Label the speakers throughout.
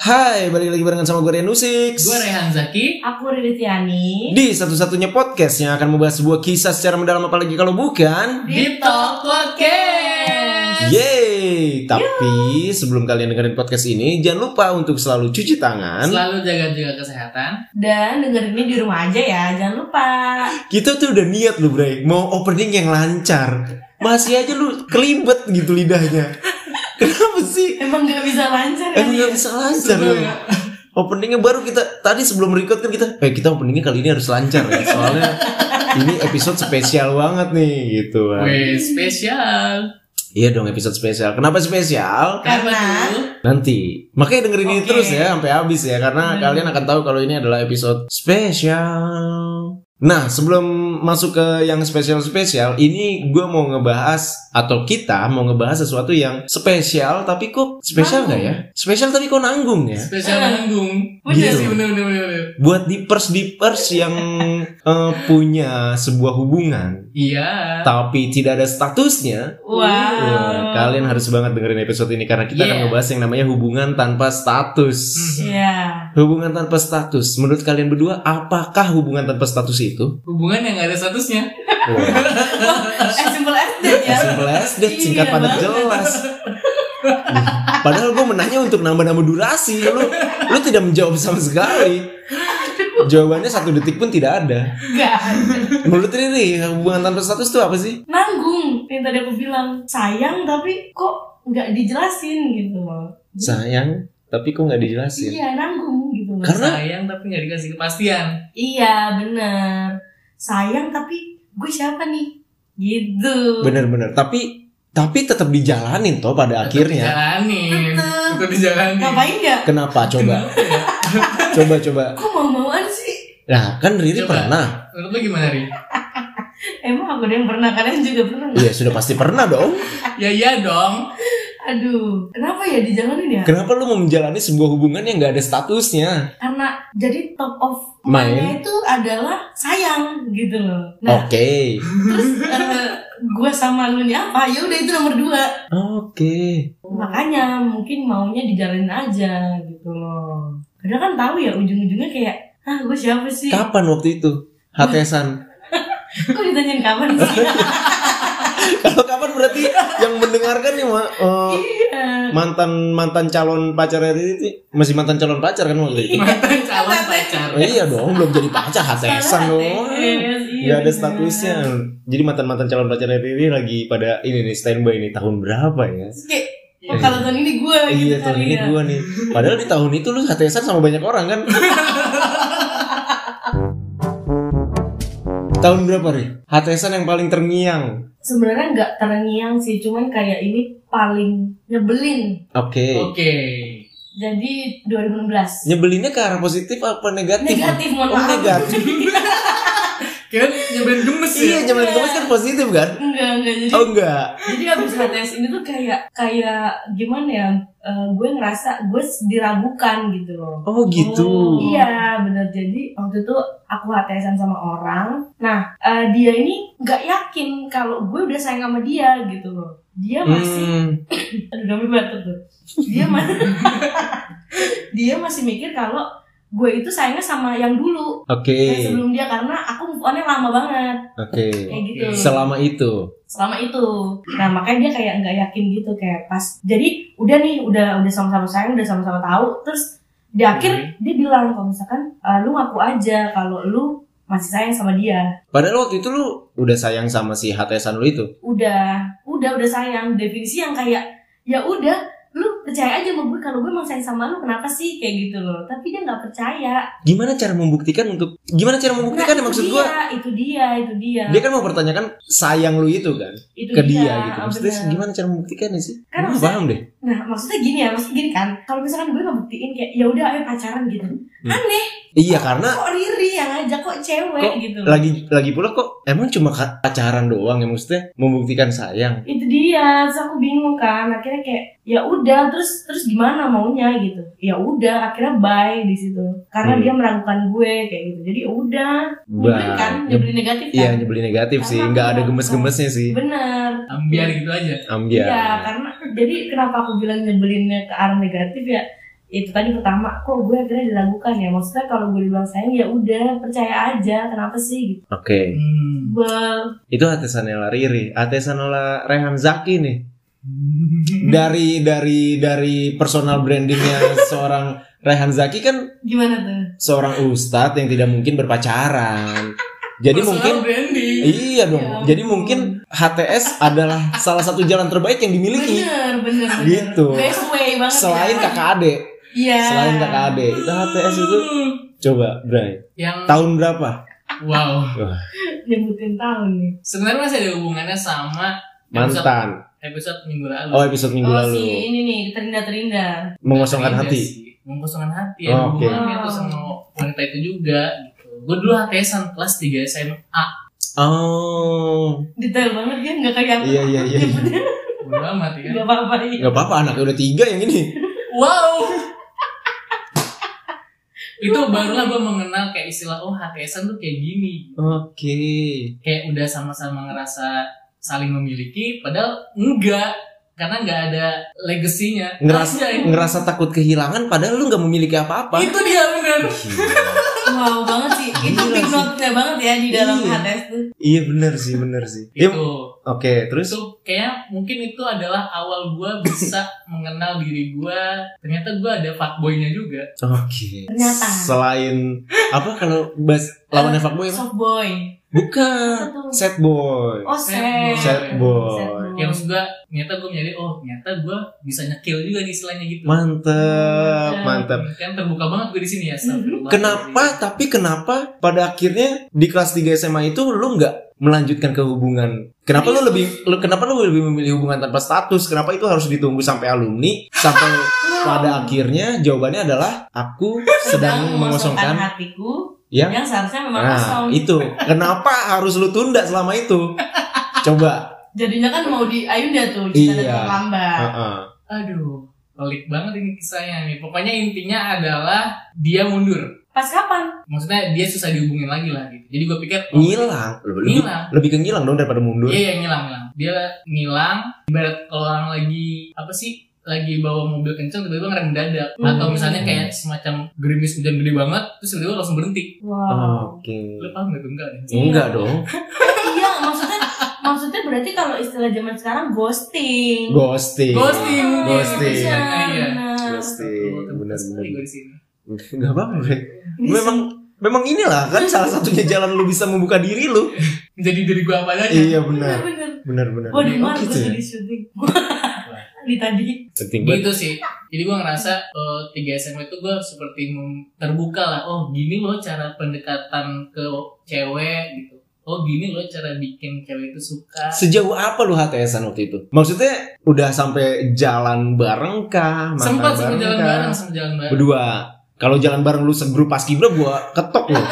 Speaker 1: Hai, balik lagi barengan sama gue Rian Usix
Speaker 2: Gue Rehan Zaki
Speaker 3: Aku Riri Tiani
Speaker 1: Di satu-satunya podcast yang akan membahas sebuah kisah secara mendalam apalagi kalau bukan
Speaker 2: di Talk Podcast.
Speaker 1: Yeay Tapi sebelum kalian dengerin podcast ini Jangan lupa untuk selalu cuci tangan
Speaker 2: Selalu jaga juga kesehatan.
Speaker 3: dan dengerinnya di rumah aja ya, jangan lupa.
Speaker 1: Kita tuh udah niat loh Bre Mau opening yang lancar Masih aja lu kelibet gitu lidahnya Kenapa sih?
Speaker 3: Emang nggak bisa lancar
Speaker 1: Emang
Speaker 3: kali ya?
Speaker 1: gak bisa lancar lu Openingnya baru kita Tadi sebelum record kan kita Eh kita openingnya kali ini harus lancar ya Soalnya ini episode spesial banget nih gitu kan.
Speaker 2: Wih, spesial.
Speaker 1: Iya dong episode spesial. Kenapa spesial?
Speaker 2: Karena
Speaker 3: Karena-
Speaker 2: tuh
Speaker 1: Nanti. Makanya dengerin ini
Speaker 3: Oke.
Speaker 1: terus ya sampai habis ya karena kalian akan tahu kalau ini adalah episode spesial. Nah, sebelum masuk ke yang spesial-spesial, ini gue mau ngebahas atau kita mau ngebahas sesuatu yang spesial tapi kok spesial nggak ya? Spesial tapi kok nanggung ya?
Speaker 2: spesial nanggung.
Speaker 1: Bener.
Speaker 2: Bener Iya sih, bener bener bener. bener.
Speaker 1: Buat dipers-dipers yang eh, punya sebuah hubungan
Speaker 2: Iya.
Speaker 1: tapi tidak ada statusnya,
Speaker 3: Wow.
Speaker 1: Wah, Iya, kalian harus banget dengerin episode ini karena kita akan
Speaker 2: Yeah.
Speaker 1: ngebahas yang namanya hubungan tanpa status.
Speaker 3: Iya.
Speaker 1: Hubungan tanpa status. Menurut kalian berdua apakah hubungan tanpa status itu?
Speaker 2: Hubungan yang gak ada statusnya.
Speaker 1: Wah,
Speaker 3: Eh simple as that ya.
Speaker 1: simple as that,
Speaker 3: Iya
Speaker 1: singkat padat
Speaker 3: banget.
Speaker 1: jelas. Ih, Padahal gue menanya untuk nambah-nambah durasi, lu lu tidak menjawab sama sekali. Jawabannya satu detik pun tidak ada.
Speaker 3: Enggak.
Speaker 1: Menurut Riri, hubungan tanpa status itu apa sih?
Speaker 3: Nanggung. Yang tadi aku bilang sayang tapi kok nggak dijelasin gitu loh.
Speaker 1: Sayang, tapi kok nggak dijelasin?
Speaker 3: Iya nanggung gitu loh.
Speaker 1: Karena
Speaker 2: Sayang tapi gak dikasih kepastian.
Speaker 3: Iya bener. Sayang tapi gue siapa nih? Gitu.
Speaker 1: Bener-bener. Tapi tapi tetap dijalanin toh pada akhirnya.
Speaker 2: Jalanin.
Speaker 3: Tetep.
Speaker 2: Tetep dijalanin.
Speaker 3: Ngapain nggak?
Speaker 1: Kenapa coba?
Speaker 2: Kenapa ya?
Speaker 1: coba coba.
Speaker 3: Kok mau-mauan sih?
Speaker 1: Nah, kan Riri
Speaker 2: Coba.
Speaker 1: pernah.
Speaker 2: Menurut lu gimana Ri?
Speaker 3: Emang aku ada yang pernah kalian juga pernah. nggak?
Speaker 1: Iya, sudah pasti pernah dong.
Speaker 2: Ya iya dong.
Speaker 3: Aduh, kenapa ya dijalanin ya?
Speaker 1: Kenapa lu mau menjalani sebuah hubungan yang gak ada statusnya?
Speaker 3: Karena jadi top of
Speaker 1: Main. Oh.
Speaker 3: mind itu adalah sayang gitu loh. Nah,
Speaker 1: Oke.
Speaker 3: terus eh, gua sama lu nih apa? Ya udah itu nomor dua.
Speaker 1: Oke.
Speaker 3: Makanya mungkin maunya dijalanin aja gitu loh. Padahal kan tahu ya ujung-ujungnya kayak, ah gue siapa sih?
Speaker 1: Kapan waktu itu? Hatesan.
Speaker 3: Kok ditanyain kapan sih?
Speaker 1: Kalau kapan berarti yang mendengarkan nih Ma- eh,
Speaker 3: Iya.
Speaker 1: mantan mantan calon pacarnya Riri sih. masih mantan calon pacar kan waktu itu.
Speaker 2: Mantan calon pacar.
Speaker 1: Oh, iya dong, belum jadi pacar hatesan loh.
Speaker 3: Yes, iya,
Speaker 1: Gak ada
Speaker 3: bener.
Speaker 1: statusnya. Jadi mantan-mantan calon pacarnya Riri lagi pada ini nih standby nih tahun berapa ya?
Speaker 3: Terus Kayak, oh, kalau tahun ini gue gitu
Speaker 1: Iya tahun
Speaker 3: kali
Speaker 1: ini
Speaker 3: ya.
Speaker 1: gua nih. Padahal di tahun itu lu HTSan sama banyak orang kan. tahun berapa nih? HTSan yang paling terngiang.
Speaker 3: Sebenarnya nggak terngiang sih, cuman kayak ini paling nyebelin
Speaker 1: Oke.
Speaker 3: Oh.
Speaker 2: Oke.
Speaker 3: Jadi 2016.
Speaker 1: Nyebelinnya ke arah positif apa negatif?
Speaker 3: Negatif, mohon
Speaker 1: Oh,
Speaker 3: maaf.
Speaker 1: negatif.
Speaker 2: Kira nyebelin gemes ya.
Speaker 1: iya, zaman itu kan positif kan?
Speaker 3: Enggak, enggak. Jadi
Speaker 1: Oh enggak.
Speaker 3: jadi abis HTS ini tuh kayak kayak gimana ya? eh, gue ngerasa gue diragukan gitu loh.
Speaker 1: Oh gitu.
Speaker 2: Oh.
Speaker 3: Iya bener jadi waktu itu aku HTSan sama orang Nah eh, dia ini nggak yakin kalau gue udah sayang sama dia gitu loh Dia masih
Speaker 1: Hmm.
Speaker 3: Aduh dami batuk tuh Dia masih Dia masih mikir kalau gue itu sayangnya sama yang dulu
Speaker 1: Oke.
Speaker 3: yang sebelum dia karena aku move on-nya lama banget
Speaker 1: Oke.
Speaker 3: kayak gitu
Speaker 1: Selama itu.
Speaker 3: selama itu nah makanya dia kayak nggak yakin gitu kayak pas jadi udah nih udah udah sama-sama sayang udah sama-sama tahu terus di
Speaker 1: Hmm.
Speaker 3: akhir dia bilang kalau misalkan "Ah, lu ngaku aja kalau lu masih sayang sama dia
Speaker 1: Padahal waktu itu lu udah sayang sama si HTSan lu itu.
Speaker 3: udah udah udah sayang definisi yang kayak ya udah lu percaya aja sama gue kalau gue emang sayang sama lu kenapa sih kayak gitu loh tapi dia nggak percaya
Speaker 1: Gimana cara membuktikan untuk gimana cara membuktikan ya
Speaker 3: Nah, itu
Speaker 1: maksud
Speaker 3: dia,
Speaker 1: gua?
Speaker 3: itu dia itu dia
Speaker 1: Dia kan mau pertanyakan sayang lu itu kan
Speaker 3: itu
Speaker 1: ke dia gitu.
Speaker 3: ah,
Speaker 1: Maksudnya
Speaker 3: bener.
Speaker 1: gimana cara membuktikannya sih?
Speaker 3: Kan
Speaker 1: Gua
Speaker 3: maksudnya-
Speaker 1: paham deh.
Speaker 3: Nah, maksudnya gini ya, maksudnya gini kan. Kalau misalkan gue ngebuktiin kayak ya udah ayo pacaran gitu. Aneh,
Speaker 1: Iya karena
Speaker 3: kok Riri yang ngajak kok cewek
Speaker 1: Kok
Speaker 3: gitu. loh.
Speaker 1: lagi lagi pula kok emang cuma ka- pacaran doang ya maksudnya membuktikan sayang.
Speaker 3: Itu dia, terus aku bingung kan. Akhirnya kayak ya udah, terus terus gimana maunya gitu. Ya udah, akhirnya bye di situ. Karena
Speaker 1: Hmm.
Speaker 3: dia meragukan gue kayak gitu. Jadi ya udah, nyebelin
Speaker 1: Bah,
Speaker 3: kan,
Speaker 1: nyeb-
Speaker 3: nyebelin negatif kan.
Speaker 1: Iya nyebelin negatif
Speaker 3: Karena
Speaker 1: sih,
Speaker 3: aku
Speaker 1: nggak ada
Speaker 3: nggak-
Speaker 1: gemes-gemesnya sih.
Speaker 3: Bener.
Speaker 2: Ambiar gitu aja.
Speaker 3: Iya,
Speaker 1: Ambiar.
Speaker 3: karena jadi kenapa aku bilang nyebelinnya ke arah negatif ya? itu tadi pertama kok gue akhirnya dilakukan ya maksudnya kalau gue dibilang sayang ya udah percaya aja kenapa sih gitu
Speaker 1: Oke,
Speaker 2: Hmm.
Speaker 3: Well,
Speaker 1: itu Atesanela Riri, Atesanela Rehan Zaki nih. Dari dari dari personal brandingnya seorang Rehan Zaki kan
Speaker 3: gimana tuh
Speaker 1: seorang ustadz yang tidak mungkin berpacaran. Jadi
Speaker 2: Personal
Speaker 1: mungkin
Speaker 2: branding.
Speaker 1: iya dong.
Speaker 3: Ya
Speaker 1: Jadi
Speaker 3: ampun.
Speaker 1: mungkin HTS adalah salah satu jalan terbaik yang dimiliki.
Speaker 3: bener bener bener.
Speaker 1: Gitu.
Speaker 3: best way banget
Speaker 1: Selain
Speaker 3: ya.
Speaker 1: kakak ade,
Speaker 3: Iya.
Speaker 1: selain kakak ade itu HTS itu coba Bray.
Speaker 2: yang
Speaker 1: Tahun berapa?
Speaker 2: wow.
Speaker 3: nyebutin tahun nih
Speaker 2: Sebenarnya masih ada hubungannya sama episode,
Speaker 1: Mantan.
Speaker 2: episode minggu lalu.
Speaker 1: Oh episode minggu
Speaker 3: oh
Speaker 1: lalu
Speaker 3: si ini nih terindah terindah
Speaker 1: mengosongkan
Speaker 2: Iya
Speaker 1: hati.
Speaker 2: sih, Mengosongkan hati ya.
Speaker 1: Oh, oke.
Speaker 2: Hubungannya tuh sama wanita itu juga gitu. Gue dulu HTSan kelas 3 SMA.
Speaker 1: Oh
Speaker 3: detail banget kan nggak kayak aku.
Speaker 1: iya iya iya.
Speaker 2: Bodo amat ya.
Speaker 3: nggak apa apa ya
Speaker 1: Gak apa-apa anaknya udah tiga yang ini.
Speaker 2: Wow. itu barulah gue mengenal kayak istilah oh HTSan tuh kayak gini.
Speaker 1: Oke.
Speaker 2: Kayak udah sama-sama ngerasa saling memiliki padahal enggak karena nggak ada legasinya
Speaker 1: Ngeras-
Speaker 2: Anjay.
Speaker 1: Ngerasa takut kehilangan padahal lu nggak memiliki
Speaker 3: Iya.
Speaker 1: apa-apa.
Speaker 2: itu dia bener
Speaker 3: wow banget sih itu
Speaker 1: Gila
Speaker 3: big
Speaker 1: sih.
Speaker 3: note-nya banget ya di dalam
Speaker 1: Iya.
Speaker 3: HTS tuh
Speaker 1: iya benar sih benar sih. Iya,
Speaker 3: Gitu.
Speaker 2: itu
Speaker 1: Oke terus
Speaker 2: itu kayak mungkin itu adalah awal gua bisa mengenal diri gua ternyata gua ada fuckboynya juga
Speaker 1: Oke.
Speaker 3: Ternyata.
Speaker 1: Selain apa kalau bas lawannya fuckboy apa?
Speaker 3: soft boy
Speaker 1: Bukan.
Speaker 3: Apa tuh?
Speaker 1: Sad boy.
Speaker 3: oh sad
Speaker 2: Sad
Speaker 1: boy.
Speaker 3: Sad boy.
Speaker 2: yang juga ternyata gua menyadari oh ternyata gua bisa nyekil juga nih istilahnya gitu
Speaker 1: Mantap,
Speaker 3: Ya.
Speaker 1: mantap. Hmm.
Speaker 2: kan terbuka banget gue di sini ya astagfirullah.
Speaker 1: Kenapa? Tapi kenapa pada akhirnya di kelas 3 SMA itu lu nggak melanjutkan ke hubungan? Kenapa lu lebih lu- kenapa lu lebih memilih hubungan tanpa status? Kenapa itu harus ditunggu sampai alumni sampai pada akhirnya jawabannya adalah aku sedang mengosongkan
Speaker 3: hatiku
Speaker 1: yang
Speaker 3: yang seharusnya memang
Speaker 1: nah
Speaker 3: kosong
Speaker 1: itu. Kenapa harus lu tunda selama itu? Coba.
Speaker 3: jadinya kan mau di ayunda tuh
Speaker 1: Iya.
Speaker 3: kita datang lambat
Speaker 1: Heeh.
Speaker 2: aduh pelik banget ini kisahnya nih pokoknya intinya adalah dia mundur
Speaker 3: pas kapan
Speaker 2: maksudnya dia susah dihubungin lagi lah gitu jadi gue pikir
Speaker 1: Iya.
Speaker 2: oh,
Speaker 1: Ngilang. Lebih-
Speaker 2: ngilang
Speaker 1: lebih ke ngilang dong daripada mundur.
Speaker 2: Iya, iya ngilang ngilang. Dia ngilang. Ibarat kalau orang lagi apa sih? Lagi bawa mobil kencang tiba-tiba ngerem dadak
Speaker 3: Hmm.
Speaker 2: atau misalnya kayak semacam gerimis hujan gede banget terus tiba-tiba langsung berhenti.
Speaker 3: wow
Speaker 1: Oke.
Speaker 2: Lu paham gak tuh enggak? ya?
Speaker 1: Enggak dong.
Speaker 3: iya maksudnya maksudnya berarti kalau istilah zaman sekarang ghosting
Speaker 1: Ghosting.
Speaker 2: Ghosting.
Speaker 1: Ghosting.
Speaker 3: Iya,
Speaker 2: Iya.
Speaker 3: benar.
Speaker 1: Ghosting. Benar
Speaker 2: Terus
Speaker 1: benar.
Speaker 2: gue di sini.
Speaker 1: Enggak apa-apa. Bre.
Speaker 3: Ini
Speaker 1: Memang memang inilah kan salah satunya jalan lu bisa membuka diri lu.
Speaker 2: Menjadi diri gua apa adanya.
Speaker 1: iya
Speaker 3: bener
Speaker 1: benar.
Speaker 3: bener
Speaker 1: Benar benar.
Speaker 3: gue di
Speaker 1: Oh,
Speaker 3: mana
Speaker 1: gitu
Speaker 3: gue
Speaker 1: ya.
Speaker 3: jadi syuting di tadi
Speaker 1: Penting banget.
Speaker 2: Gitu sih. Jadi gua ngerasa eh, tiga SMA itu gua seperti mem- terbuka lah. Oh gini loh cara pendekatan ke cewek gitu. Oh gini loh cara bikin cewek itu suka.
Speaker 1: Sejauh apa lu HTSan waktu itu? Maksudnya udah sampai jalan bareng kah? Makan
Speaker 2: Sempat sempat
Speaker 1: bareng kan?
Speaker 2: jalan
Speaker 1: kah?
Speaker 2: bareng, sempat jalan bareng.
Speaker 1: Berdua. Kalau jalan bareng lu segrup pas kibra gua ketok lu.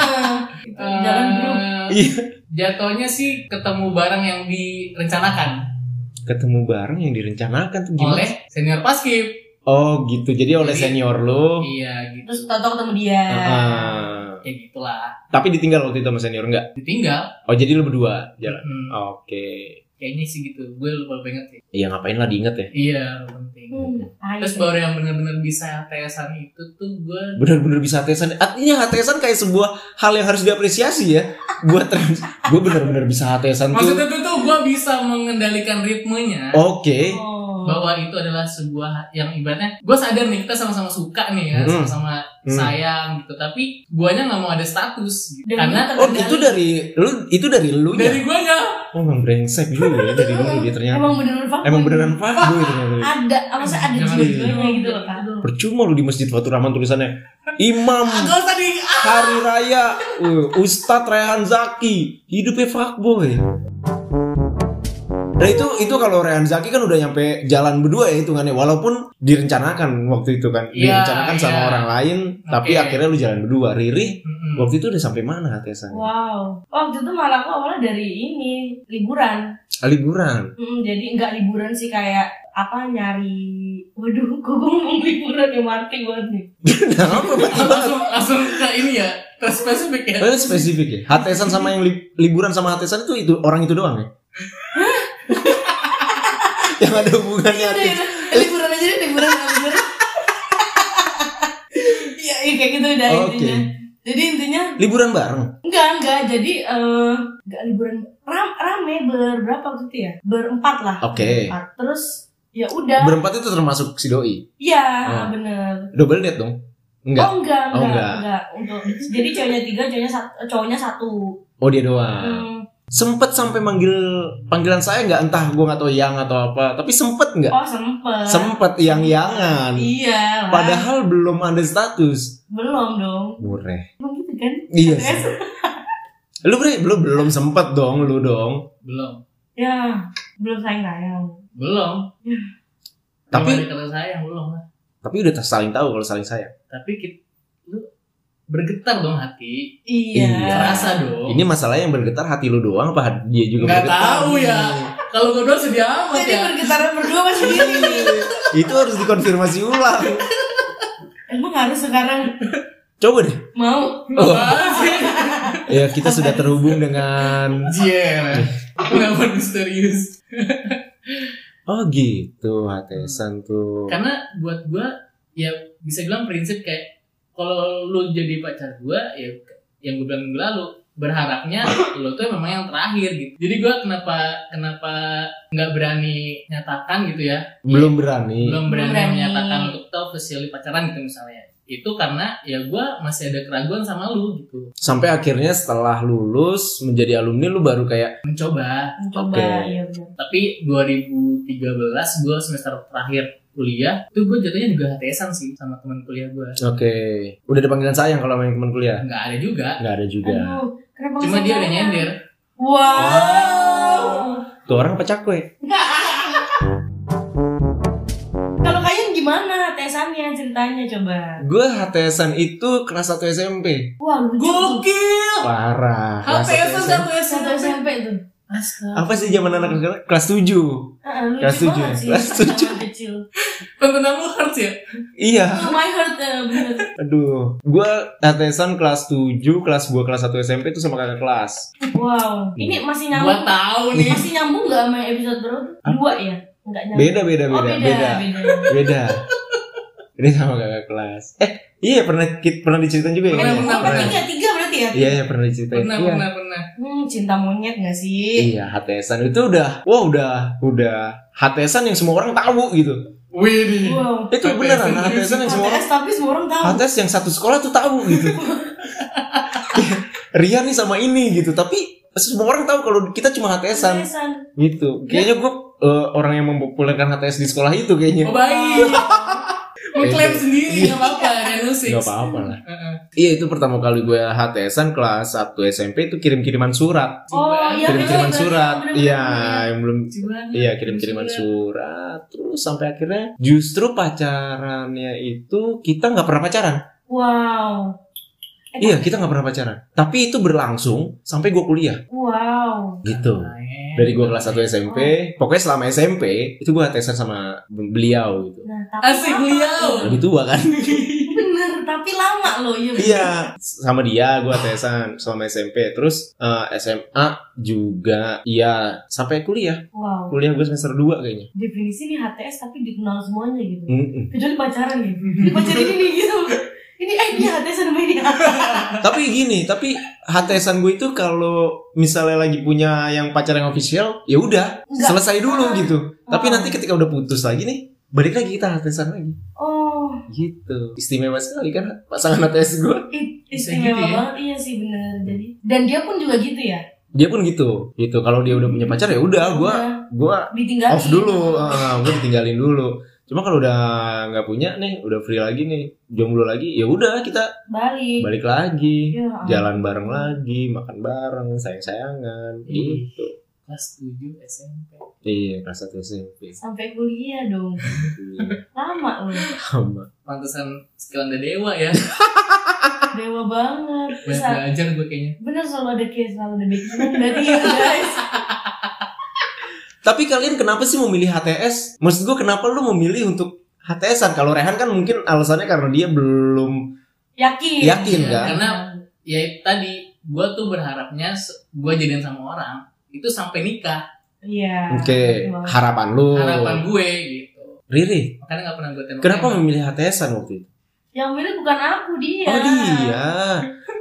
Speaker 2: Eh,
Speaker 3: jalan grup
Speaker 1: Iya.
Speaker 2: Jatuhnya sih ketemu barang yang direncanakan
Speaker 1: Ketemu bareng yang direncanakan tuh gimana?
Speaker 2: oleh senior paskib.
Speaker 1: Oh gitu. Jadi oleh
Speaker 2: Jadi-
Speaker 1: senior lu.
Speaker 2: Iya gitu.
Speaker 3: terus Toto ketemu dia
Speaker 1: Heeh.
Speaker 2: Ya gitulah.
Speaker 1: Tapi ditinggal waktu itu sama senior enggak?
Speaker 2: Ditinggal.
Speaker 1: Oh jadi lu berdua jalan.
Speaker 2: Hmm,
Speaker 1: Oke.
Speaker 2: Kayaknya sih gitu. Gue lupa banget sih.
Speaker 1: Iya ngapain lah diinget ya.
Speaker 2: Iya penting.
Speaker 3: Hmm, tai.
Speaker 2: Terus baru yang benar-benar bisa TSan itu tuh gue
Speaker 1: Bener-bener bisa HTSan. Artinya HTSan kayak sebuah hal yang harus diapresiasi ya. Buat gue bener-bener bisa HTSan tuh.
Speaker 2: maksudnya tuh tuh gue bisa mengendalikan ritmenya.
Speaker 1: Oke.
Speaker 3: oh.
Speaker 2: bahwa itu adalah sebuah yang ibaratnya gue sadar nih kita sama-sama suka nih ya
Speaker 1: Hmm.
Speaker 2: sama-sama
Speaker 1: Hmm.
Speaker 2: sayang gitu tapi guanya nggak mau ada status gitu.
Speaker 3: Dan
Speaker 2: karena
Speaker 3: ini
Speaker 1: Oh itu dari lu itu dari lu ya.
Speaker 2: dari guanya
Speaker 1: Oh emang brengsek dulu ya dari dulu dia ternyata.
Speaker 3: emang beneran fuckboy.
Speaker 1: Emang beneran fuckboy ternyata.
Speaker 3: ada maksudnya ada
Speaker 2: Jangan
Speaker 3: jiwa-jiwanya
Speaker 2: gitu.
Speaker 3: gitu loh kan
Speaker 1: Percuma lu di Masjid Faturahman tulisannya Imam
Speaker 2: Gak usah di
Speaker 1: Hari Raya uh, Ustadz Rehan Zaki hidupnya fuckboy. Nah itu itu kalau Rehan Zaki kan udah nyampe jalan berdua ya hitungannya walaupun direncanakan waktu itu kan
Speaker 2: Iya,
Speaker 1: direncanakan sama
Speaker 2: iya.
Speaker 1: orang lain tapi
Speaker 2: Oke. Hmm.
Speaker 1: akhirnya lu jalan berdua Riri
Speaker 2: Mm-mm.
Speaker 1: waktu itu udah sampai mana Tessa?
Speaker 3: Wow, waktu itu malah aku awalnya dari ini liburan,
Speaker 1: Ah, Liburan.
Speaker 3: Mm, jadi nggak liburan sih kayak apa nyari, waduh, kok gue ngomong liburan ya mati banget nih.
Speaker 1: Kenapa banget?
Speaker 2: langsung langsung ke ini ya terspesifik ya
Speaker 1: Eh, spesifik ya. Hatesan sama yang li- liburan sama hatesan itu itu orang itu doang ya. yang ada hubungannya
Speaker 3: Iya,
Speaker 1: hati. Iya,
Speaker 3: iya, iya. liburan aja deh, liburan, liburan. ya, ya, kayak gitu udah
Speaker 1: Oke.
Speaker 3: intinya jadi intinya
Speaker 1: Liburan bareng.
Speaker 3: enggak enggak jadi eh, enggak liburan ram, rame berberapa gitu ya berempat lah
Speaker 1: Oke.
Speaker 3: Berempat. terus ya udah
Speaker 1: Berempat itu termasuk si doi.
Speaker 3: ya
Speaker 1: Oh.
Speaker 3: bener
Speaker 1: Double date dong. Enggak.
Speaker 3: Oh enggak,
Speaker 1: Oh,
Speaker 3: enggak,
Speaker 1: enggak.
Speaker 3: enggak. Untuk jadi cowoknya tiga, cowoknya satu, cowoknya satu.
Speaker 1: Oh dia doang.
Speaker 3: Hmm.
Speaker 1: Sempet sampai manggil panggilan saya nggak entah gue nggak tahu yang atau apa. Tapi sempet nggak?
Speaker 3: Oh sempet.
Speaker 1: Sempet yang yangan.
Speaker 3: Iya. lah.
Speaker 1: Padahal belum ada status.
Speaker 3: belum dong.
Speaker 1: Mureh.
Speaker 3: Emang gitu kan?
Speaker 1: Iya.
Speaker 3: Yes.
Speaker 1: sih. Lu bre, lu belum sempet dong lu dong.
Speaker 2: belum
Speaker 3: Ya, belum sayang sayang.
Speaker 2: belum
Speaker 1: Tapi-
Speaker 2: Belum ada kata sayang belum lah
Speaker 1: Tapi udah saling tahu kalau saling sayang.
Speaker 2: tapi kita lu bergetar dong hati
Speaker 3: Iya.
Speaker 1: Iya.
Speaker 2: rasa dong
Speaker 1: Ini masalahnya yang bergetar hati lu doang apa dia juga
Speaker 2: Oh. Nggak
Speaker 1: bergetar?
Speaker 2: tahu ya. kalau gue doang sedih amat
Speaker 3: Jadi
Speaker 2: ya
Speaker 3: bergetaran berdua masih gitu. gini.
Speaker 1: Itu harus dikonfirmasi ulang.
Speaker 3: Emang harus sekarang
Speaker 1: Coba deh.
Speaker 3: mau?
Speaker 1: Oh.
Speaker 2: Apaan sih?
Speaker 1: Ya kita sudah terhubung dengan
Speaker 2: Jel Kenapa misterius
Speaker 1: Oh gitu Hatesan tuh
Speaker 2: Karena buat gua Ya bisa bilang prinsip kayak kalau lu jadi pacar gua Ya yang gue bilang minggu lalu Berharapnya lo tuh memang yang terakhir gitu Jadi gua kenapa Kenapa nggak berani nyatakan gitu ya
Speaker 1: Belum berani
Speaker 2: Belum berani,
Speaker 3: Berani.
Speaker 2: menyatakan untuk tau officially pacaran gitu misalnya Itu karena ya gua masih ada keraguan sama lu gitu
Speaker 1: Sampai akhirnya setelah lulus Menjadi alumni lu baru kayak
Speaker 2: Mencoba
Speaker 3: Coba
Speaker 1: Oke.
Speaker 3: iya benar.
Speaker 2: tapi 2013 gue semester terakhir kuliah tuh gue jatuhnya juga HTSan sih sama teman kuliah gue
Speaker 1: Oke Udah ada panggilan sayang kalau main teman kuliah
Speaker 2: nggak ada juga
Speaker 1: Nggak ada juga
Speaker 3: Aduh, kenapa
Speaker 2: cuma
Speaker 3: nggak
Speaker 2: dia udah
Speaker 3: sayang?
Speaker 2: nyender
Speaker 3: Wow.
Speaker 1: Tuh orang apa cakwe?
Speaker 3: Kalau kalian gimana tesannya ceritanya coba?
Speaker 1: Gue Hatesan itu kelas 1 SMP
Speaker 3: Wah lucu. tuh.
Speaker 2: gokil ya,
Speaker 1: Parah kelas 1
Speaker 2: HTSan
Speaker 1: SMP.
Speaker 2: satu
Speaker 3: Satu
Speaker 2: SMP
Speaker 3: SMP tuh.
Speaker 2: astaga
Speaker 1: Apa sih zaman anak sekarang? Kelas 7
Speaker 3: Heeh, Ah, lucu
Speaker 1: Kelas tujuh,
Speaker 3: banget sih.
Speaker 1: kelas tujuh.
Speaker 3: zaman kecil.
Speaker 2: tentang lu harus ya
Speaker 1: Iya
Speaker 3: Oh, my heart eh, bener.
Speaker 1: Aduh, gua tetesan kelas 7, kelas gua kelas 1 SMP itu sama kakak kelas.
Speaker 3: Wow. Ini masih
Speaker 2: gue
Speaker 3: nyambung.
Speaker 2: tahu
Speaker 1: Iya.
Speaker 2: nih
Speaker 3: Masih nyambung nggak sama episode berapa? Dua ya? Enggak nyambung.
Speaker 1: Beda beda
Speaker 3: oh,
Speaker 1: beda
Speaker 3: beda.
Speaker 1: beda
Speaker 3: beda.
Speaker 1: beda. Ini sama kakak kelas. Eh, iya pernah ki- pernah diceritain juga ya?
Speaker 2: Pernah,
Speaker 1: Iya,
Speaker 2: pernah,
Speaker 3: Apa tiga tiga berarti ya?
Speaker 1: Iya, iya pernah diceritain.
Speaker 2: pernah
Speaker 1: iya.
Speaker 2: pernah pernah
Speaker 3: Hmm, cinta monyet nggak sih?
Speaker 1: Iya, HTSan itu udah, wah udah, udah HTSan yang semua orang tahu gitu.
Speaker 2: Wih,
Speaker 3: Wow.
Speaker 1: Itu
Speaker 2: HTSan
Speaker 1: beneran
Speaker 2: serius.
Speaker 1: HTSan yang semua orang
Speaker 3: HTS tapi semua orang tahu.
Speaker 1: HTS yang satu sekolah tuh tahu gitu. Ria nih sama ini gitu, tapi semua orang tahu kalau kita cuma HTSan.
Speaker 3: HTSan.
Speaker 1: gitu kayaknya gue orang yang mempopulerkan HTS di sekolah itu
Speaker 2: oh
Speaker 1: kayaknya
Speaker 2: baik mengklaim
Speaker 1: Beda.
Speaker 2: sendiri nggak apa-apa ada sih
Speaker 1: Gak Iya. apa-apa lah Iya itu pertama kali gue HTSan kelas 1 SMP itu kirim-kiriman surat
Speaker 3: Oh iya
Speaker 1: Ya, Kirim-kiriman
Speaker 3: bener,
Speaker 1: surat
Speaker 3: bener,
Speaker 1: Iya
Speaker 3: bener.
Speaker 1: yang belum Iya kirim-kiriman surat Terus sampai akhirnya justru pacarannya itu kita nggak pernah pacaran
Speaker 3: Wow. Eh,
Speaker 1: Iya kita nggak pernah pacaran Tapi itu berlangsung sampai gue kuliah
Speaker 3: Wow.
Speaker 1: Gitu
Speaker 2: Nah, iya.
Speaker 1: Dari gue kelas 1 SMP Pokoknya selama SMP itu gue HTSan sama beliau gitu
Speaker 3: Nah, tapi
Speaker 2: Asik
Speaker 3: lama.
Speaker 2: beliau.
Speaker 1: Lebih tua kan
Speaker 3: Bener, tapi lama loh. Iya. bener.
Speaker 1: Iya, sama dia gue tesan selama SMP, terus eh, SMA juga, iya sampai kuliah,
Speaker 3: Wow.
Speaker 1: kuliah gue semester 2 kayaknya.
Speaker 3: definisi nih HTS tapi dikenal semuanya gitu
Speaker 1: Mm-mm.
Speaker 3: kecuali pacaran ya ini pacaran ini nih gitu ini eh ini HTS sama ini
Speaker 1: tapi gini, tapi HTSan gue itu kalau misalnya lagi punya yang pacar yang official, ya udah
Speaker 3: Enggak.
Speaker 1: selesai dulu gitu. Tapi
Speaker 3: Oh.
Speaker 1: nanti ketika udah putus lagi nih, balik lagi kita HTSan lagi.
Speaker 3: oh
Speaker 1: Gitu. Istimewa sekali kan pasangan HTS gue.
Speaker 3: it,
Speaker 2: Bisa
Speaker 3: istimewa
Speaker 2: gitu ya.
Speaker 3: banget iya sih bener jadi dan dia pun juga gitu ya
Speaker 1: Dia pun gitu. Gitu. Kalau dia udah punya pacar ya udah, gue
Speaker 3: Udah
Speaker 1: gue
Speaker 3: Nah, ditinggalin
Speaker 1: off dulu ah, gue ditinggalin dulu cuma kalau udah nggak punya nih udah free lagi nih jomblo lagi ya udah kita
Speaker 3: balik
Speaker 1: balik lagi
Speaker 3: Ya ampun.
Speaker 1: jalan bareng lagi makan bareng sayang sayangan
Speaker 2: Ih.
Speaker 1: gitu
Speaker 2: kelas 7 SMP
Speaker 1: iya kelas satu SMP
Speaker 3: sampai kuliah dong lama loh
Speaker 1: sama
Speaker 2: pantesan sekilan ada dewa ya
Speaker 3: dewa banget
Speaker 2: banyak
Speaker 3: Sa-
Speaker 2: belajar gue kayaknya
Speaker 3: bener selalu ada case selalu ada back berarti ya guys
Speaker 1: tapi kalian kenapa sih memilih HTS maksud gue kenapa lu memilih untuk HTSan kalau Rehan kan mungkin alasannya karena dia belum
Speaker 3: yakin Iya.
Speaker 1: Yakin, kan?
Speaker 2: Karena ya itu tadi gue tuh berharapnya gue jadian sama orang itu sampai nikah
Speaker 3: iya
Speaker 1: oke harapan lu
Speaker 2: harapan Iya. gue gitu
Speaker 1: Riri
Speaker 2: makanya nggak pernah gue tembak
Speaker 1: kenapa memilih HTSan waktu itu
Speaker 3: Yang milih bukan aku dia.
Speaker 1: Oh dia.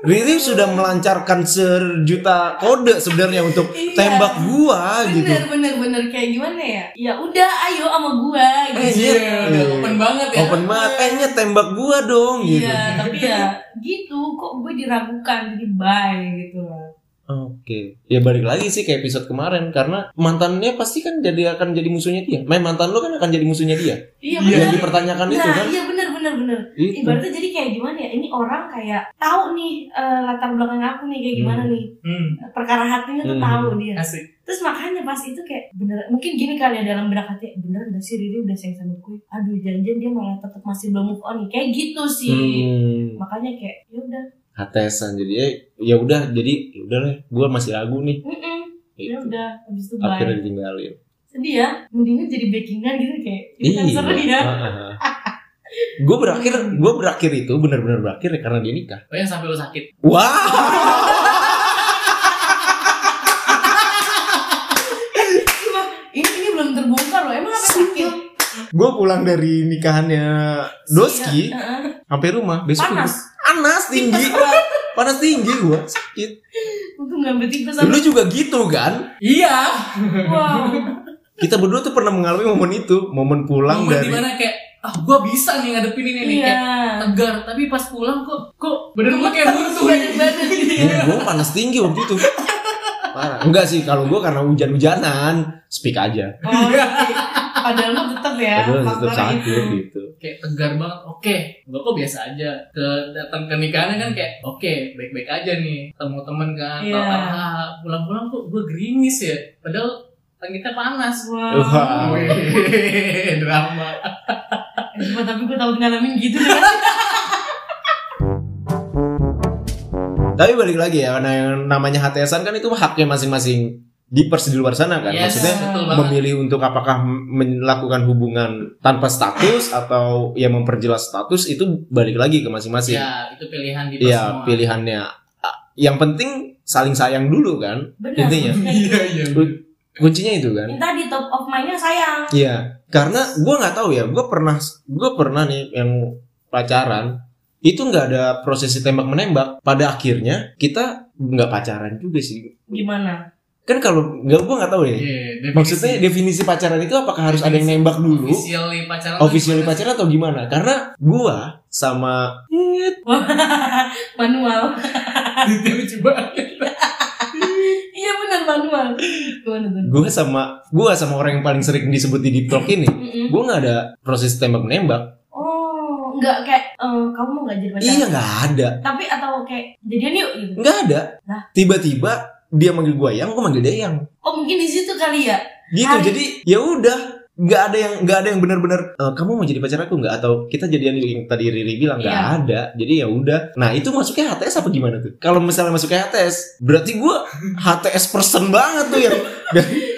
Speaker 1: Riri sudah melancarkan sejuta kode sebenarnya untuk
Speaker 3: Iya.
Speaker 1: tembak gua gitu.
Speaker 3: Bener bener bener kayak gimana ya? Ya udah ayo sama gua gitu.
Speaker 1: Iya.
Speaker 2: Iya, udah open banget ya.
Speaker 1: Open banget, eh Nyet, tembak gua dong gitu.
Speaker 3: Iya tapi ya gitu kok gue diragukan jadi bye gitu lah.
Speaker 1: Oke. Ya balik lagi sih ke episode kemarin karena mantannya pasti kan jadi akan jadi musuhnya dia. Main mantan lu kan akan jadi musuhnya dia.
Speaker 2: Iya,
Speaker 3: Iya bener.
Speaker 1: Yang dipertanyakan
Speaker 3: Nah
Speaker 1: itu kan. Gitu.
Speaker 3: iya bener bener bener.
Speaker 1: Itu.
Speaker 3: Ibaratnya jadi kayak gimana ya? Ini orang kayak tahu nih eh, latar belakang aku nih kayak gimana
Speaker 1: Hmm.
Speaker 3: nih
Speaker 2: Hmm,
Speaker 3: perkara hatinya tuh
Speaker 1: Hmm.
Speaker 3: tahu dia.
Speaker 2: asik.
Speaker 3: Terus makanya pas itu kayak bener mungkin gini kali ya dalam benak hati bener gak sih Riri udah sayang sama gue? Aduh janjian dia malah tetap masih belum move on nih kayak gitu sih.
Speaker 1: Hmm.
Speaker 3: Makanya kayak ya udah.
Speaker 1: Hatesan jadi eh, ya udah jadi ya udah lah gua masih ragu nih.
Speaker 3: mm-mm, Ya
Speaker 1: Gitu.
Speaker 3: udah habis itu bye.
Speaker 1: Akhirnya ditinggalin.
Speaker 3: Sedih ya, mendingan jadi backingan gitu kayak itu kan
Speaker 1: Iya.
Speaker 3: seru ya.
Speaker 1: Ah, gue berakhir gue berakhir itu benar-benar berakhir ya karena dia nikah.
Speaker 2: Oh yang sampai lu sakit.
Speaker 1: Wah.
Speaker 3: Cuma ini ini belum terbongkar loh. Emang apa sakit?
Speaker 1: gue pulang dari nikahannya Doski
Speaker 3: Iya, heeh.
Speaker 1: sampai rumah besok gua-
Speaker 3: Panas.
Speaker 1: panas tinggi panas tinggi gue sakit
Speaker 3: Untung nggak bertikus sama.
Speaker 1: Dulu juga gitu kan
Speaker 2: Iya.
Speaker 3: Wow.
Speaker 1: kita berdua tuh pernah mengalami momen itu momen pulang
Speaker 2: Momen
Speaker 1: dari
Speaker 2: dimana kayak ah gua bisa nih ngadepin ini nih
Speaker 3: Iya.
Speaker 2: kayak tegar tapi pas pulang kok kok bener gua kayak runtuh
Speaker 3: Banyak banget.
Speaker 1: gue Iya, panas tinggi waktu itu Parah. enggak sih kalau gue karena hujan-hujanan speak aja
Speaker 3: Oh, Padahal mah tetap ya.
Speaker 1: Padahal tetap
Speaker 3: faktornya
Speaker 1: sakit
Speaker 3: itu.
Speaker 1: gitu
Speaker 2: kayak tegar banget oke gua kok biasa aja ke datang ke nikahannya kan kayak oke baik-baik aja nih ketemu temen kan
Speaker 3: Iya.
Speaker 2: ah, pulang-pulang kok gua gerimis ya padahal kita panas
Speaker 3: Wow.
Speaker 1: Wah.
Speaker 2: Wih, drama
Speaker 3: Eh, Cuma tapi gue takut ngalamin gitu kan.
Speaker 1: tapi balik lagi ya karena yang namanya HTSan kan itu haknya masing-masing di pers di luar sana kan
Speaker 2: yes
Speaker 1: maksudnya
Speaker 2: betul banget
Speaker 1: memilih untuk apakah melakukan hubungan tanpa status atau ya memperjelas status itu balik lagi ke masing-masing
Speaker 2: ya itu pilihan di
Speaker 1: Iya pilihannya. A- Yang penting saling sayang dulu kan.
Speaker 3: Benar.
Speaker 1: Intinya.
Speaker 2: iya iya
Speaker 1: Kuncinya itu kan.
Speaker 3: Ini tadi top of mind-nya sayang.
Speaker 1: Iya. Karena gua nggak tahu ya. Gue pernah gue pernah nih yang pacaran itu nggak ada prosesi tembak menembak. Pada akhirnya kita nggak pacaran juga sih.
Speaker 3: Gimana?
Speaker 1: Kan kalau nggak gue nggak tahu ya.
Speaker 2: Iya,
Speaker 1: Maksudnya definisi
Speaker 2: definisi-
Speaker 1: pacaran itu apakah harus ada yang nembak dulu?
Speaker 2: officially pacaran tuh
Speaker 1: Officially
Speaker 2: gimana sih?
Speaker 1: pacaran atau gimana? Karena gua sama
Speaker 3: Manual.
Speaker 2: Itu lucu banget
Speaker 3: Iya benar manual. Gimana tuh?
Speaker 1: gua sama gua sama orang yang paling sering disebut di deep talk ini,
Speaker 3: Mm-mm.
Speaker 1: gua nggak ada proses tembak menembak.
Speaker 3: Oh, nggak kayak eh, kamu mau gak jadi pacar?
Speaker 1: Iya nggak ada,
Speaker 3: Tapi atau kayak jadian yuk gitu.
Speaker 1: nggak ada.
Speaker 3: Lah?
Speaker 1: Tiba-tiba dia manggil gua yang, gua manggil dia yang.
Speaker 3: Oh mungkin di situ kali ya.
Speaker 1: Gitu.
Speaker 3: Hai.
Speaker 1: Jadi ya udah, nggak ada yang nggak ada yang benar-benar "Eh, kamu mau jadi pacar aku nggak atau kita jadian yang tadi Riri bilang nggak
Speaker 3: Iya.
Speaker 1: ada. Jadi ya udah. Nah itu masuknya HTS apa gimana tuh? Kalau misalnya masuknya HTS, berarti gua HTS person banget tuh yang.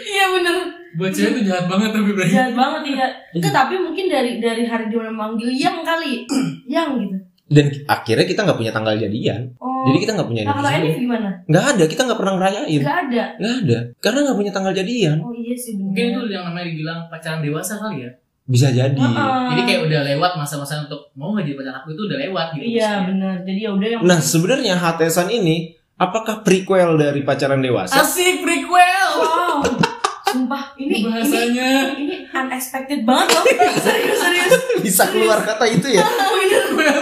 Speaker 3: Iya bener.
Speaker 2: buat cewek tuh jahat banget tapi berarti
Speaker 3: Jahat banget iya. Enggak, tapi mungkin dari dari hari dia manggil yang kali. yang gitu.
Speaker 1: Dan akhirnya kita nggak punya tanggal jadian.
Speaker 3: Oh.
Speaker 1: Jadi Iya. kita nggak punya
Speaker 3: nah, kalau ini
Speaker 1: anniversary.
Speaker 3: gimana?
Speaker 1: Nggak ada, kita nggak pernah ngerayain.
Speaker 3: Enggak ada.
Speaker 1: Nggak ada, karena nggak punya tanggal jadian.
Speaker 3: Oh iya sih bener.
Speaker 2: mungkin itu yang namanya dibilang pacaran dewasa kali ya
Speaker 1: Bisa jadi.
Speaker 3: Heeh.
Speaker 2: Jadi kayak udah lewat masa-masa untuk mau nggak jadi pacar aku itu udah lewat gitu.
Speaker 3: Iya
Speaker 2: maksudnya.
Speaker 3: bener. Jadi ya udah yang
Speaker 1: Nah, sebenarnya HTSan ini apakah prequel dari pacaran
Speaker 3: Ah.
Speaker 1: dewasa?
Speaker 2: Asik prequel.
Speaker 3: Wow. Sumpah ini ini
Speaker 2: Bahasanya.
Speaker 3: ini unexpected banget loh. serius serius.
Speaker 1: Bisa keluar kata itu ya?
Speaker 3: Bener.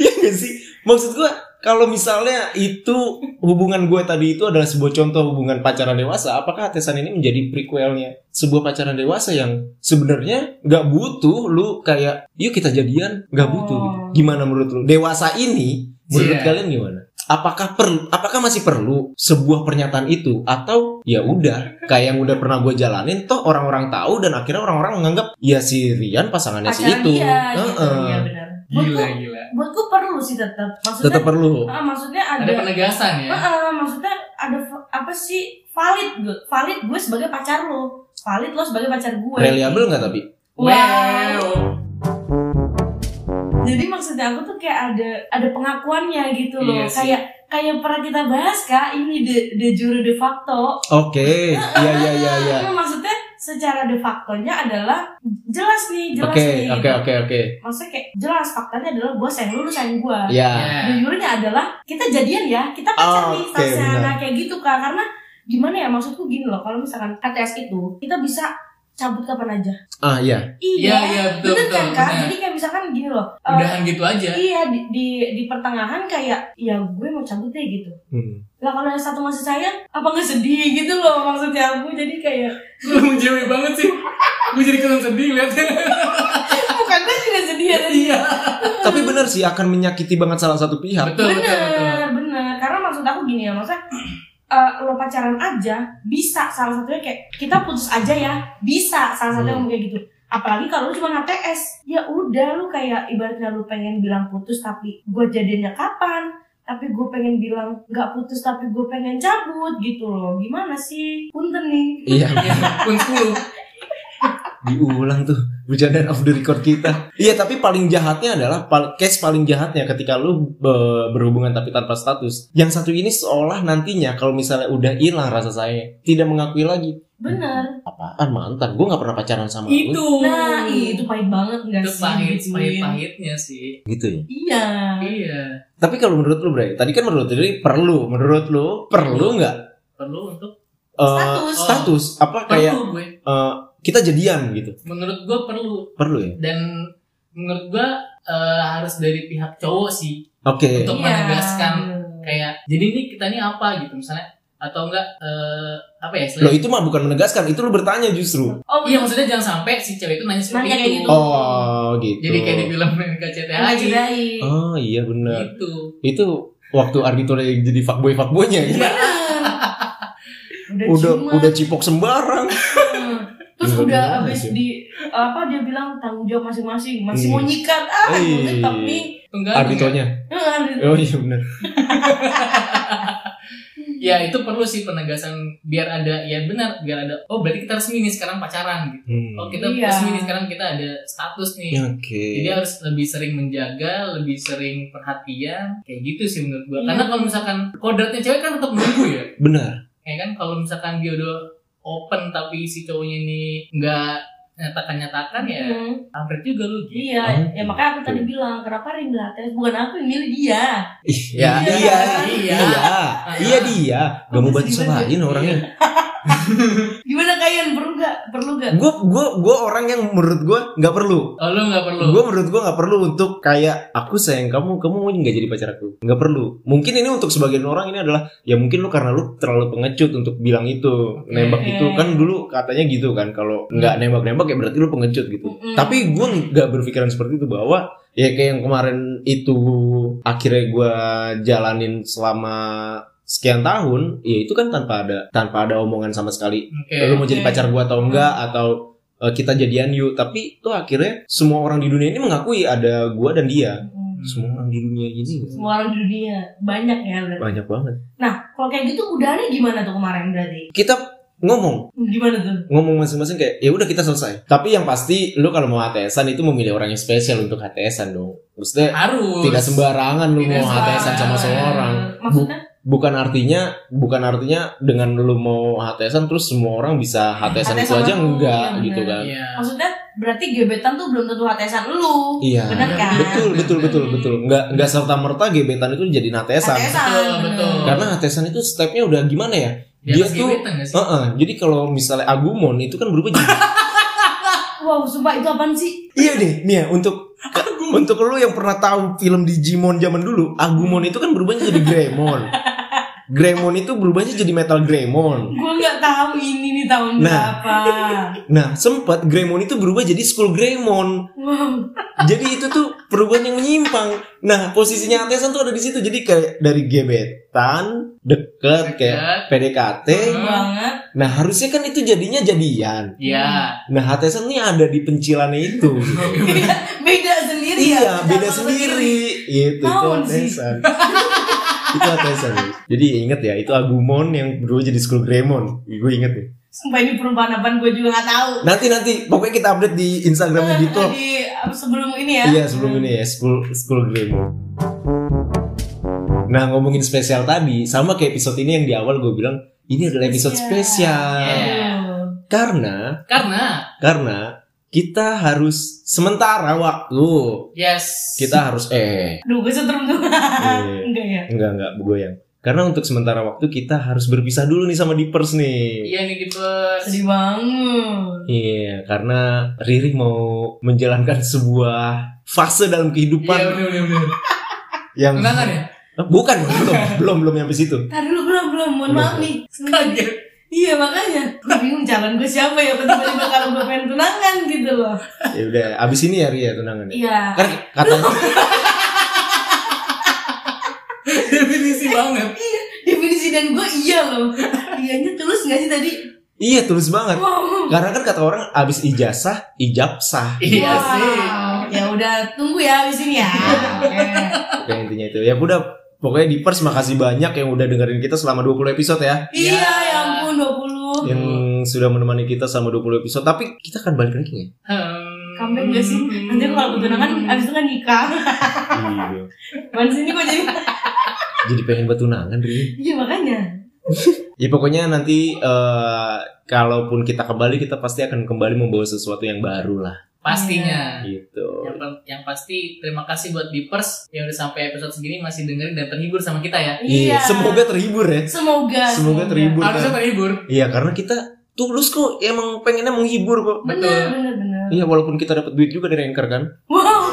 Speaker 1: Iya gak sih? Maksud gua kalau misalnya itu hubungan gue tadi itu adalah sebuah contoh hubungan pacaran dewasa, apakah HTSan ini menjadi prequelnya sebuah pacaran dewasa yang sebenarnya nggak butuh lu kayak yuk kita jadian nggak butuh gitu.
Speaker 3: Oh.
Speaker 1: Gimana menurut lu? Dewasa ini menurut
Speaker 2: Iya.
Speaker 1: kalian gimana? Apakah perlu apakah masih perlu sebuah pernyataan itu atau ya udah kayak yang udah pernah gue jalanin toh orang-orang tahu dan akhirnya orang-orang menganggap ya si Rian pasangannya si
Speaker 3: Pacaran
Speaker 1: itu.
Speaker 3: dia gitu.
Speaker 1: Nah, Heeh.
Speaker 3: Iya bener.
Speaker 2: Gila
Speaker 3: Buatku
Speaker 2: gila.
Speaker 3: buatku perlu sih tetap. Maksudnya
Speaker 1: Tetap perlu.
Speaker 3: Ah, maksudnya
Speaker 2: Ada penegasan ya.
Speaker 3: Heeh, maksudnya ada v- apa sih valid gue valid gue sebagai pacar lo valid lo sebagai pacar gue
Speaker 1: Reliable nggak tapi?
Speaker 3: wow jadi maksudnya aku tuh kayak ada ada pengakuannya gitu loh
Speaker 2: Iya sih.
Speaker 3: kayak kayak pernah kita bahas kak ini de, de jure de facto
Speaker 1: Oke, iya iya iya iya.
Speaker 3: Nah, maksudnya secara de facto-nya adalah jelas nih, jelas
Speaker 1: Oke,
Speaker 3: nih.
Speaker 1: oke, oke, oke.
Speaker 3: Maksudnya kayak jelas faktanya adalah gue sayang lu, lu sayang gue.
Speaker 1: Ya.
Speaker 2: Iya.
Speaker 3: Jujurnya adalah kita jadian ya, kita pacar
Speaker 1: Oh,
Speaker 3: nih,
Speaker 1: oke,
Speaker 3: okay,
Speaker 1: benar.
Speaker 3: kayak gitu kak. Karena gimana ya maksudku gini loh, kalau misalkan ATS itu kita bisa cabut kapan aja.
Speaker 1: Ah, iya.
Speaker 2: Iya, iya, betul,
Speaker 3: bener
Speaker 2: betul.
Speaker 3: kan kak?
Speaker 2: benar.
Speaker 3: Jadi kayak misalkan gini loh. eh,
Speaker 2: Udahan gitu aja.
Speaker 3: Iya di, di di pertengahan kayak ya gue mau cabut deh gitu.
Speaker 1: Hmm.
Speaker 3: Lah kalau yang satu masih sayang apa nggak sedih gitu loh maksudnya aku jadi kayak
Speaker 2: Lu menjauhi banget sih. Gue jadi kelem sedih liatnya.
Speaker 3: bukan gue juga sedih ya tadi.
Speaker 2: Iya.
Speaker 1: Tapi benar sih akan menyakiti banget salah satu pihak.
Speaker 2: Betul, betul, betul.
Speaker 3: Bener bener karena maksud aku gini ya maksudnya eh, lo pacaran aja bisa salah satunya kayak kita putus aja ya bisa salah satunya
Speaker 1: Hmm.
Speaker 3: ngomong kayak gitu apalagi kalau lu cuma HTS ya udah lu kayak ibaratnya lu pengen bilang putus tapi gue jadinya kapan tapi gue pengen bilang nggak putus tapi gue pengen cabut gitu loh gimana sih punten nih
Speaker 1: Iya,
Speaker 2: Iya, Pun 10.
Speaker 1: diulang tuh bercandaan off the record kita. Iya, tapi paling jahatnya adalah pal- case paling jahatnya ketika lu be- berhubungan tapi tanpa status. Yang satu ini seolah nantinya kalau misalnya udah hilang rasa saya, tidak mengakui lagi.
Speaker 3: Bener.
Speaker 1: Apaan mantan? Gue nggak pernah pacaran sama lu.
Speaker 2: Itu.
Speaker 3: Nah, ih, itu pahit banget
Speaker 2: Hmm.
Speaker 3: nggak
Speaker 2: itu
Speaker 3: sih?
Speaker 2: pahit,
Speaker 3: digituin?
Speaker 2: pahit-pahitnya sih.
Speaker 1: Gitu ya.
Speaker 3: Iya.
Speaker 2: Iya.
Speaker 1: Tapi kalau menurut lu, Bray, tadi kan menurut diri perlu, menurut lu perlu nggak
Speaker 2: Perlu untuk
Speaker 1: eh,
Speaker 3: Status.
Speaker 1: status apa kayak
Speaker 2: perlu gue.
Speaker 1: eh, kita jadian gitu?
Speaker 2: Menurut gue perlu
Speaker 1: Perlu ya?
Speaker 2: dan menurut gue harus dari pihak cowok sih
Speaker 1: Oke.
Speaker 2: Untuk-
Speaker 3: Iya.
Speaker 2: menegaskan kayak jadi ini kita nih apa gitu misalnya atau enggak eh, apa ya
Speaker 1: Lo
Speaker 2: selain-
Speaker 1: itu mah bukan menegaskan, itu lu bertanya justru.
Speaker 3: Oh,
Speaker 2: iya maksudnya jangan sampai si cewek itu nanya seperti
Speaker 3: Nanya kayak
Speaker 2: itu
Speaker 3: gitu.
Speaker 1: Oh, gitu.
Speaker 2: jadi kayak di film KCTH
Speaker 3: Nggak
Speaker 2: gitu
Speaker 3: dijudahin.
Speaker 1: Oh, iya benar. Itu waktu Ardito lagi jadi fuckboy fuckboynya
Speaker 3: Iya.
Speaker 1: ya.
Speaker 3: Bener.
Speaker 1: Udah
Speaker 3: ciuman.
Speaker 1: udah cipok sembarang.
Speaker 3: Terus
Speaker 1: Udah
Speaker 3: udah
Speaker 1: gimana
Speaker 3: abis
Speaker 1: sih? Iya.
Speaker 3: di apa dia bilang tanggung jawab masing-masing, masih mau
Speaker 1: Ih.
Speaker 3: nyikat ah,
Speaker 1: Ih.
Speaker 3: tetap nih.
Speaker 2: enggak enggak.
Speaker 1: Arditonya.
Speaker 3: Heeh, gitu.
Speaker 1: Oh iya benar.
Speaker 2: ya itu perlu sih penegasan biar ada ya benar biar ada oh berarti kita resmi nih sekarang pacaran gitu
Speaker 1: Hmm. Ya,
Speaker 2: oh
Speaker 1: Oke.
Speaker 2: kita
Speaker 3: Iya.
Speaker 2: resmi nih sekarang kita ada status nih Jadi harus lebih sering menjaga, lebih sering perhatian, kayak gitu sih menurut gua.
Speaker 3: Iya.
Speaker 2: Karena kalau misalkan kodratnya cewek kan tetap menunggu ya,
Speaker 1: Benar.
Speaker 2: ya kan? Kalau misalkan dia udah open tapi si cowoknya ini nggak nyatakan-nyatakan ya,
Speaker 3: Hmm,
Speaker 2: hampir juga lu gitu.
Speaker 3: Iya,
Speaker 1: Oh,
Speaker 3: ya makanya aku tadi bilang kenapa Rin dilatih bukan aku yang milih dia.
Speaker 1: Ih, Ya,
Speaker 3: Iya.
Speaker 1: iya.
Speaker 2: Iya.
Speaker 1: Iya. Iya dia. Gak mau bantu selain orangnya.
Speaker 3: Gimana kalian perlu gak? Perlu gak?
Speaker 1: gue gue gue orang yang menurut gue nggak perlu
Speaker 2: Oh, lu nggak perlu.
Speaker 1: gue menurut gue nggak perlu untuk kayak aku sayang kamu kamu mau nggak jadi pacar aku nggak perlu mungkin ini untuk sebagian orang ini adalah ya mungkin lu karena lu terlalu pengecut untuk bilang itu
Speaker 2: Oke.
Speaker 1: nembak itu kan dulu katanya gitu kan kalau nggak nembak nembak ya berarti lu pengecut gitu
Speaker 3: Mm-mm.
Speaker 1: tapi gue nggak berpikiran seperti itu bahwa ya kayak yang kemarin itu akhirnya gue jalanin selama sekian tahun ya itu kan tanpa ada tanpa ada omongan sama sekali
Speaker 2: Oke.
Speaker 1: lu mau jadi
Speaker 3: Oke.
Speaker 1: pacar gua atau enggak atau eh, kita jadian yuk tapi itu akhirnya semua orang di dunia ini mengakui ada gua dan dia
Speaker 3: Hmm.
Speaker 2: Hmm.
Speaker 1: semua orang di dunia ini
Speaker 3: Semua orang di dunia banyak ya. berarti.
Speaker 1: banyak banget
Speaker 3: Nah, kalau kayak gitu udahannya gimana tuh kemarin berarti?
Speaker 1: kita ngomong
Speaker 3: Gimana tuh?
Speaker 1: ngomong masing-masing kayak ya udah kita selesai tapi yang pasti lu kalau mau HTSan itu memilih orang yang spesial untuk HTSan dong maksudnya
Speaker 2: Harus.
Speaker 1: tidak sembarangan lu
Speaker 2: Tidak
Speaker 1: mau HTSan sama
Speaker 2: sembarangan.
Speaker 1: seorang
Speaker 3: Maksudnya?
Speaker 1: bukan artinya bukan artinya dengan lu mau HTSan terus semua orang bisa HTSan itu
Speaker 3: HTSan
Speaker 1: aja
Speaker 3: lu,
Speaker 1: enggak
Speaker 3: iya
Speaker 1: gitu
Speaker 3: benar.
Speaker 1: kan
Speaker 2: Iya.
Speaker 3: Maksudnya berarti gebetan tuh belum tentu HTSan lu.
Speaker 1: Iya.
Speaker 3: Bener kan?
Speaker 1: Betul, betul, betul, betul. Nggak nggak serta merta gebetan itu jadi nah. natesan.
Speaker 3: HTSan.
Speaker 2: Betul,
Speaker 3: bener.
Speaker 2: betul.
Speaker 1: Karena natesan itu stepnya udah gimana ya?
Speaker 2: Di
Speaker 1: Dia
Speaker 2: atas
Speaker 1: tuh- Oh,
Speaker 2: gebetan nggak sih?
Speaker 1: Heeh. Jadi kalau misalnya agumon itu kan berubah jadi.
Speaker 3: Wow, sumpah itu apaan sih?
Speaker 1: iya deh, nih ya untuk untuk lu yang pernah tahu film Digimon zaman dulu, agumon itu kan berubahnya jadi Greymon. Greymon itu berubahnya jadi Metal Greymon.
Speaker 3: Gua nggak tahu ini nih tahun
Speaker 1: Nah.
Speaker 3: berapa.
Speaker 1: Nah, sempat Greymon itu berubah jadi School Greymon.
Speaker 3: Wow.
Speaker 1: Jadi itu tuh perubahan yang menyimpang. Nah, posisinya Atesan tuh ada di situ. Jadi kayak dari gebetan, deket,
Speaker 2: Iya.
Speaker 1: kayak PDKT.
Speaker 2: Hmm.
Speaker 3: banget.
Speaker 1: Nah, harusnya kan itu jadinya jadian.
Speaker 2: Iya.
Speaker 1: Nah, Atesan nih ada di pencilannya itu.
Speaker 3: Beda, beda sendiri ya.
Speaker 1: iya, beda
Speaker 3: Sama
Speaker 1: sendiri. Itu, itu
Speaker 3: Naon sih?
Speaker 1: Atesan. itu Atesan. Jadi inget ya, itu Agumon yang berubah jadi School Greymon. Gue inget nih.
Speaker 3: Sumpah ini perubahan apaan gue juga nggak tahu. Nah,
Speaker 1: Nanti-nanti, pokoknya kita update di Instagramnya di top.
Speaker 3: Di apa, sebelum ini ya.
Speaker 1: gitu? Iya sebelum ini ya school school game. Nah ngomongin spesial tadi sama kayak episode ini yang di awal gue bilang ini adalah episode
Speaker 3: Iya.
Speaker 1: spesial.
Speaker 2: Iya.
Speaker 3: Aduh.
Speaker 1: Karena
Speaker 2: Karena
Speaker 1: karena kita harus sementara waktu
Speaker 2: yes.
Speaker 1: kita harus eh
Speaker 3: Duh, gue setrum tuh.
Speaker 1: eh.
Speaker 3: Enggak ya.
Speaker 1: enggak enggak goyang. Karena untuk sementara waktu kita harus berpisah dulu nih sama Dippers nih.
Speaker 2: Iya nih di pers.
Speaker 3: Sedih banget.
Speaker 1: Iya, karena Riri mau menjalankan sebuah fase dalam
Speaker 2: Iya
Speaker 1: kehidupan
Speaker 2: bener bener bener.
Speaker 1: yang
Speaker 2: Enggak kan ya?
Speaker 1: Eh, bukan belum belum belum nyampe situ.
Speaker 3: Ntar dulu belum belum, mohon maaf nih.
Speaker 2: Kaget.
Speaker 3: Iya makanya. Gue bingung calon gue siapa ya. Tiba-tiba kalau gue pengen tunangan gitu loh.
Speaker 1: Ya udah, abis ini ya Ri ya tunangan. ya?
Speaker 3: Iya.
Speaker 1: Kan katanya
Speaker 2: Definisi banget.
Speaker 3: Definisi dan gue iya loh. Iyanya tulus gak sih tadi?
Speaker 1: iya tulus banget.
Speaker 3: Wow.
Speaker 1: Karena kan kata orang abis ijazah ijabsah.
Speaker 2: Iya
Speaker 3: Wow.
Speaker 2: sih.
Speaker 3: Ya udah tunggu ya di sini ya. Oke.
Speaker 1: Kayak intinya itu. Ya udah pokoknya Dippers makasih banyak yang udah dengerin kita selama 20 episode ya.
Speaker 3: Iya,
Speaker 2: Ya.
Speaker 3: ya ampun 20.
Speaker 1: Yang sudah menemani kita selama 20 episode. Tapi kita akan balik lagi ya.
Speaker 2: Hmm.
Speaker 3: Comeback gak sih? Nanti kalau gue tunangan abis itu kan nikah.
Speaker 1: Iya.
Speaker 3: Mana sini kok jadi
Speaker 1: Jadi pengen buat tunangan Ri.
Speaker 3: Iya makanya.
Speaker 1: Ya pokoknya nanti eh, kalaupun kita kembali kita pasti akan kembali membawa sesuatu yang baru lah
Speaker 2: Pastinya.
Speaker 1: gitu.
Speaker 2: Yang, pa- yang pasti terima kasih buat Beepers yang udah sampai episode segini masih dengerin dan terhibur sama kita ya.
Speaker 1: Iya, semoga terhibur ya.
Speaker 3: semoga
Speaker 1: Semoga terhibur.
Speaker 2: Harusnya terhibur.
Speaker 1: Iya, karena kita tulus kok emang pengennya menghibur kok.
Speaker 3: Bener bener bener.
Speaker 1: Iya, walaupun kita dapat duit juga dari Anchor kan.
Speaker 3: Wow.